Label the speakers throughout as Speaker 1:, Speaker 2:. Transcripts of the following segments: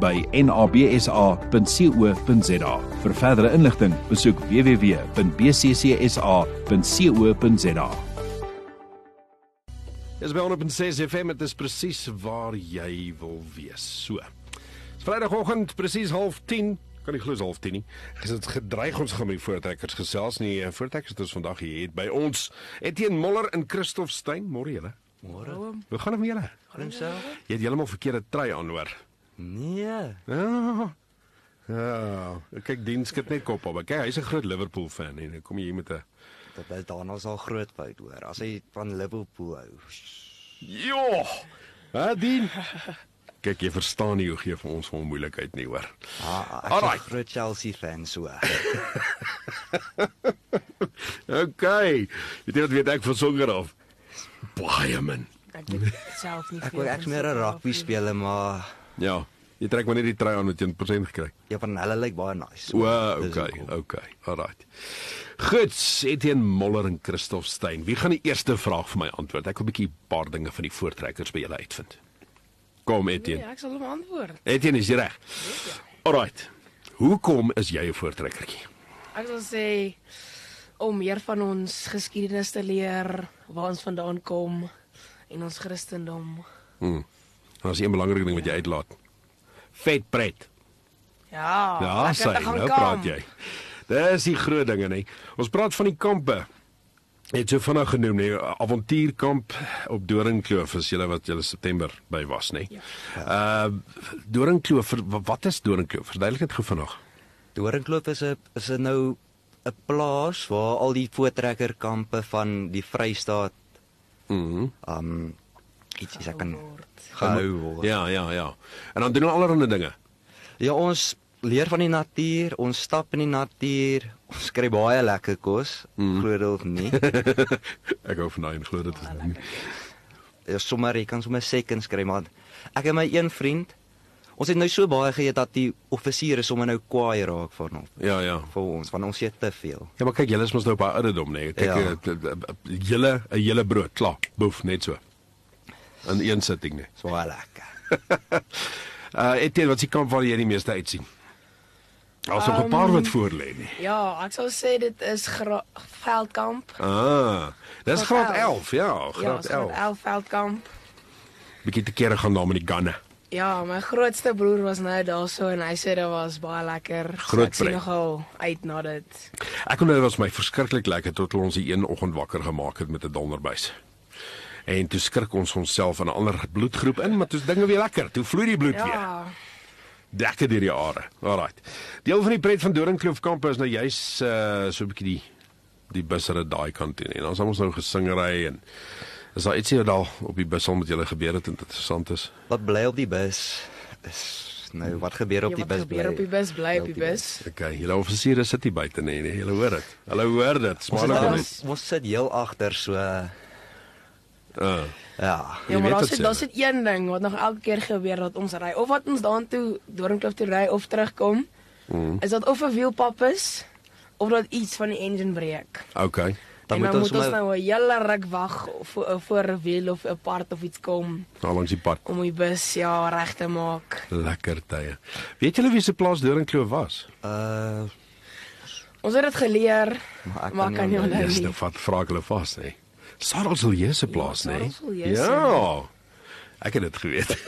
Speaker 1: by nabsa.co.za. Vir verdere inligting, besoek www.bccsa.co.za.
Speaker 2: Dis by 106 FM, dit is presies waar jy wil wees. So. Dis Vrydagoggend presies 09:30 kan nie glo dis half 10 nie. Dis dit gedreig ons gaan met die voortrekkers gesels nie. Eh, Voortrekkers het ons vandag hier het by ons Etienne Moller en Christof Stein. Môre julle.
Speaker 3: Môre.
Speaker 2: Hoe gaan dit met julle?
Speaker 3: Hallo self.
Speaker 2: Jy het heeltemal verkeerde trui aan hoor.
Speaker 3: Nee.
Speaker 2: Ja. Ja, kyk Dien skit net kop op. Kyk, hy's 'n groot Liverpool fan en dan kom jy hier met 'n
Speaker 3: Dit is daarna sal groot fout hoor. As hy van Liverpool hou.
Speaker 2: Jo. Ja! Hè, Dien. Kyk, jy verstaan nie hoe gee vir ons van moeilikheid nie hoor.
Speaker 3: Ah, ek is 'n
Speaker 2: Alright. Ja,
Speaker 3: groot Chelsea fan so.
Speaker 2: Okay. Jy dink weet ek van songer af. Baie min.
Speaker 4: Ek
Speaker 2: Nee.
Speaker 4: weet self nie
Speaker 3: Ek
Speaker 4: veel
Speaker 3: wou
Speaker 4: van
Speaker 3: ek's meer 'n
Speaker 4: Suid-Afrika
Speaker 3: rugby
Speaker 4: nie.
Speaker 3: speler, maar
Speaker 2: Ja. Jy trek maar net die trui aan wat jy 1% gekry.
Speaker 3: ja, van hulle lyk baie nice.
Speaker 2: O,
Speaker 3: Dis
Speaker 2: okay,
Speaker 3: hoekom.
Speaker 2: okay. Alrite. Goed, Etienne Moller en Christof Stein. Wie gaan die eerste vraag vir my antwoord? Ek wil 'n bietjie 'n paar dinge van die voortrekkers by julle uitvind. Kom
Speaker 4: Nee,
Speaker 2: Etienne.
Speaker 4: ek sal hom antwoord.
Speaker 2: Etienne is jy reg. Alrite. Hoekom is jy 'n voortrekkertjie?
Speaker 4: Ek sal sê om meer van ons geskiedenis te leer, waar ons vandaan kom en ons Christendom.
Speaker 2: Hm. Daar's een belangrike ding wat jy uitlaat. Vet pret.
Speaker 4: Ja,
Speaker 2: Ja,
Speaker 4: lekker
Speaker 2: sê,
Speaker 4: te gaan
Speaker 2: nou
Speaker 4: kamp.
Speaker 2: praat jy. Dis die groot dinge nê. Ons praat van die kampe. Jy Het so vinnig genoem nê, avontuurkamp op Doringkloof as julle wat julle September by was nê.
Speaker 4: Ja.
Speaker 2: Ehm uh, Doringkloof, wa- wat is Doringkloof? Verduidelik dit gou vinnig.
Speaker 3: Doringkloof is 'n is 'n nou 'n plaas waar al die voortrekkerkampe van die Vrystaat
Speaker 2: Mhm. Mm
Speaker 3: um iets is ek kan
Speaker 4: Word.
Speaker 3: gehou word.
Speaker 2: ja, ja, ja. En dan doen hulle allerlei dinge.
Speaker 3: Ja, ons leer van die natuur, ons stap in die natuur, ons kry baie lekker kos, mm. glo dit of nie.
Speaker 2: Ek hou van daai en glo dit
Speaker 4: Ah,
Speaker 2: is nou nie.
Speaker 3: Ja, sommer jy kan sommer seconds kry man. Ek en my een vriend, ons het nou so baie geëet dat die offisiere sommer nou kwaai raak van hom
Speaker 2: Ja, ja.
Speaker 3: vir ons want ons eet te veel.
Speaker 2: Ja, maar kyk, julle is mos nou op 'n ouderdom nê. Kyk,
Speaker 3: Ja.
Speaker 2: eh, t- t- julle 'n hele brood, klaar. Boef, net so. In een sitting nee. nê.
Speaker 3: Dis baie lekker.
Speaker 2: Uh Etienne, wat is die kamp waar jy die meeste uitsien? Daar's nog 'n paar wat voor lê nie.
Speaker 4: Ja, ek sal sê dit is gra- veldkamp.
Speaker 2: Ah, dis
Speaker 4: Graad
Speaker 2: graad 11, ja, graad
Speaker 4: ja,
Speaker 2: 11.
Speaker 4: 11 veldkamp.
Speaker 2: Bietjie te kere gaan daar met die ganne.
Speaker 4: Ja, my grootste broer was nou daarso en hy sê dit was baie lekker.
Speaker 2: Groot
Speaker 4: ek sien
Speaker 2: pret.
Speaker 4: nogal uit na dit.
Speaker 2: Ek onthou dit was my verskriklik lekker tot hulle ons die een oggend wakker gemaak het met 'n donderbuis. En toe skrik ons onsself aan 'n ander bloedgroep in, maar toe's dinge weer lekker. Toe vloei die bloed weer.
Speaker 4: Ja.
Speaker 2: Dekke deur die are. Alraight. Deel van die pret van Doringkloof kamp is nou juis uh so 'n bietjie die die bussere daai kant toe en dan sal ons nou gesingery en is daar ietsie wat daar op die bus al met julle gebeur het en dit interessant is.
Speaker 3: Wat bly op die bus is nou wat gebeur op
Speaker 4: Ja,
Speaker 3: die
Speaker 4: wat
Speaker 3: bus Nee,
Speaker 4: gebeur op die bus bly op die bus.
Speaker 2: Okay, eh, julle offisiere sit hier buite nê, nee, julle hoor dit. Hulle hoor dit.
Speaker 3: Ons
Speaker 2: Smaal
Speaker 3: is
Speaker 2: hulle
Speaker 3: daar-
Speaker 2: net.
Speaker 3: ons sit heel agter so
Speaker 2: Uh,
Speaker 3: ja.
Speaker 2: Jy
Speaker 4: Ja, maar
Speaker 2: weet
Speaker 4: daar
Speaker 2: wat
Speaker 4: sit
Speaker 2: sê
Speaker 4: daar
Speaker 2: hulle.
Speaker 4: sit een ding wat nog elke keer gebeur dat ons ry of wat ons daartoe Doringkloof toe ry of terugkom. Mm. Is dat of 'n wielpap is of dat iets van die engine breek.
Speaker 2: okay.
Speaker 3: Dan
Speaker 4: en
Speaker 3: moet
Speaker 4: dan
Speaker 3: ons
Speaker 4: moet ons
Speaker 3: maar-
Speaker 4: nou 'n hele ruk wag voor voor 'n wiel of 'n part of iets kom
Speaker 2: Daar langs die pad.
Speaker 4: om die bus ja reg te maak.
Speaker 2: Lekker tye. Weet julle wie se plaas Doringkloof was?
Speaker 3: Uh
Speaker 4: Ons het dit geleer,
Speaker 3: Maar ek
Speaker 4: maar
Speaker 3: kan
Speaker 4: kan
Speaker 3: nie
Speaker 4: nie onthou
Speaker 2: Dis nou
Speaker 4: nie.
Speaker 2: vat vra ek hulle vas nê. Sarelselje se plaas
Speaker 4: Ja,
Speaker 2: nê.
Speaker 4: Sarelselje se.
Speaker 2: Ja. Ek het dit geweet.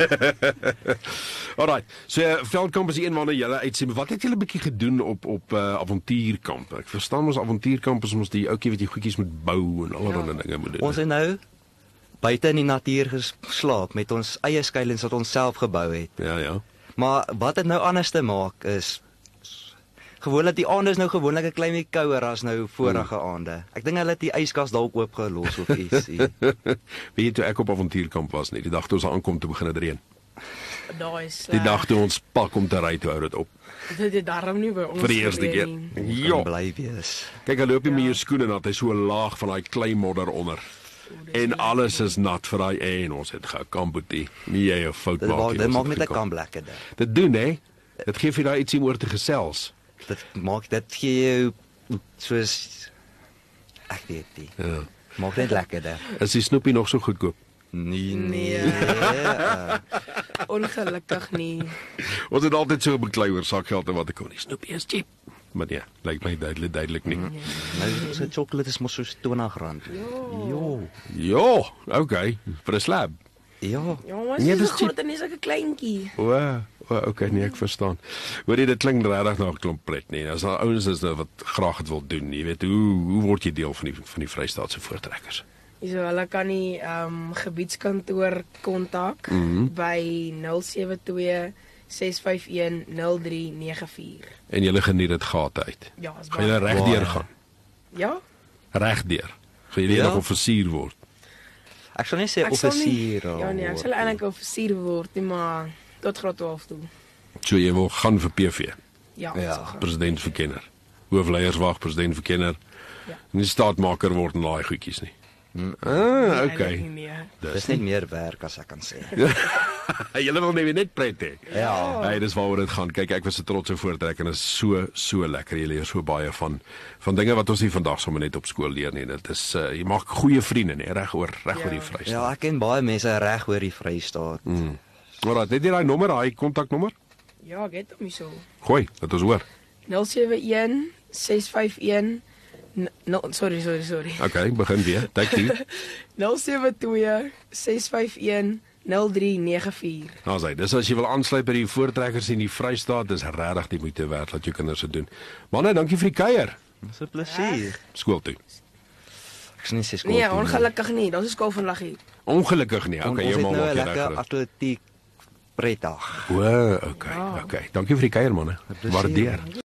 Speaker 2: Alraai. So eh, veldkamp is die een waarna julle uitsien. Wat het julle bietjie gedoen op op uh, avontuurkamp? Ek verstaan mos avontuurkamp is mos die ouetjie wat jy goedjies moet bou en allerlei
Speaker 4: Ja.
Speaker 2: dinge moet doen.
Speaker 3: Ons het nou buite in die natuur geslaap met ons eie skuilings wat ons self gebou het.
Speaker 2: Ja ja.
Speaker 3: Maar wat dit nou anders te maak is gewoonlik die aande is nou gewoonlik 'n klein bietjie kouer as nou vorige
Speaker 2: Hmm.
Speaker 3: aande. Ek dink hulle het die yskas dalk oop gelos of iets.
Speaker 2: nee, Weet jy toe ek op avontuurkamp was nie, die dag toe ons aankom toe begin dit reën.
Speaker 4: Daai is eh,
Speaker 2: Die dag toe ons pak om te ry toe hou dit op
Speaker 4: dit het daarom nie by ons
Speaker 2: vir die eerste
Speaker 4: gebeur
Speaker 2: keer.
Speaker 4: nie.
Speaker 2: Ja.
Speaker 3: Kan bly wees.
Speaker 2: Kyk, hy loop nie met jou skoene nat, hy so laag van daai klei modder onder. En alles is nat vir daai en ons het gekamboetie. Nie jy 'n fout
Speaker 3: Dit
Speaker 2: maak
Speaker 3: maak
Speaker 2: nie,
Speaker 3: dit
Speaker 2: ons
Speaker 3: maak
Speaker 2: het
Speaker 3: net 'n
Speaker 2: gekamp.
Speaker 3: kamp lekker ding.
Speaker 2: Dit doen hè. Dit gee vir jou daai ietsie om oor te gesels.
Speaker 3: Dit maak dit gee jou soos ek weet nie.
Speaker 2: Ja.
Speaker 3: Maak net lekker ding.
Speaker 2: Is die snoepie nog so goedkoop?
Speaker 3: Nee
Speaker 4: Nee.
Speaker 3: nee. eh,
Speaker 4: Ongelukkig nie.
Speaker 2: Ons het altyd so beklei oor sakgeld en wat ek kon. Die snoepie is cheap. Maar nee, lyk my duidelik duidelik nie.
Speaker 3: Nou so sjokolade is mos so R20. Jo.
Speaker 2: Ja, okay, vir 'n slab.
Speaker 3: Ja.
Speaker 4: Jongens,
Speaker 2: Nee,
Speaker 4: nee, dis
Speaker 2: dis cheap.
Speaker 4: groot en is ek 'n kleintjie.
Speaker 2: O, o, okay, nee, ek verstaan. Hoorie, dit klink regtig na 'n klomp pret, nee. Daar's daar ouens is nou wat graag dit wil doen. Jy weet, hoe hoe word jy deel van die van die Vrystaatse voortrekkers?
Speaker 4: So hulle kan die ehm um, gebiedskantoor kontak mm -hmm. by 072 651 0394.
Speaker 2: En jy geniet dit gate uit.
Speaker 4: Ja, is
Speaker 2: Gaan jy
Speaker 4: baie.
Speaker 2: regdeur gaan?
Speaker 4: Ja.
Speaker 2: Regdeur. Gaan jy
Speaker 3: Ja.
Speaker 2: nog offisier word?
Speaker 3: Ek sal net sê
Speaker 4: Ek sal nie-
Speaker 3: Nee, offisier. al
Speaker 4: Ja nee, ek sal
Speaker 3: word nie.
Speaker 4: eintlik 'n offisier word, nie, maar tot graad 12 toe.
Speaker 2: So jy wil gaan vir PV,
Speaker 4: Ja,
Speaker 3: Ja,
Speaker 4: so gaan.
Speaker 2: president verkenner. Hoofleierswag, president verkenner.
Speaker 4: Ja.
Speaker 2: Nie staatmaker word en daai goedjies nie. Ah,
Speaker 4: Eintlik
Speaker 2: okay.
Speaker 4: nie, nee.
Speaker 3: Dis net meer werk as ek kan sê.
Speaker 4: Ja.
Speaker 2: Julle wil net net pret hê.
Speaker 3: Ja.
Speaker 2: Hey, Nee, dis waaroor dit gaan. Kyk, ek was 'n trotse voortrekker en is so so lekker. Jy leer so baie van van dinge wat ons nie vandag sommer net op skool leer nie. Dit is uh, jy maak goeie vriende, nee, reg oor reg ja. oor die
Speaker 4: Ja.
Speaker 2: Vrystaat.
Speaker 3: Ja, ek ken baie mense reg oor die Vrystaat. Mm.
Speaker 2: Ja. Maar dit is daai nommer, daai kontaknommer.
Speaker 4: Ja, ek het hom hierso.
Speaker 2: Gooi, dat ons hoor.
Speaker 4: 071 651 n- No, sorry, sorry, sorry.
Speaker 2: Okay, begin weer. Thank you.
Speaker 4: 072 651 0394.
Speaker 2: Nou sê, dis as jy wil aansluit by die voortrekkers in die Vrystaat, dis regtig die moeite werd wat jou kinders dit doen. Manne, dankie vir die kuier.
Speaker 3: Dis 'n plesier.
Speaker 2: Skool toe.
Speaker 3: Ek sien nie sê skool.
Speaker 4: Nee,
Speaker 3: toe nie.
Speaker 4: ongelukkig nie. Daar's 'n skool vandag hier.
Speaker 2: Ongelukkig nie.
Speaker 3: On-
Speaker 2: Okay, jy
Speaker 3: ons het
Speaker 2: maak
Speaker 3: nou 'n
Speaker 2: maak jy
Speaker 3: lekker
Speaker 2: reg.
Speaker 3: atletiek pretdag. Ah.
Speaker 2: O, okay. Okay. Dankie vir die kuier manne.
Speaker 3: Plesier.
Speaker 2: Waardeer.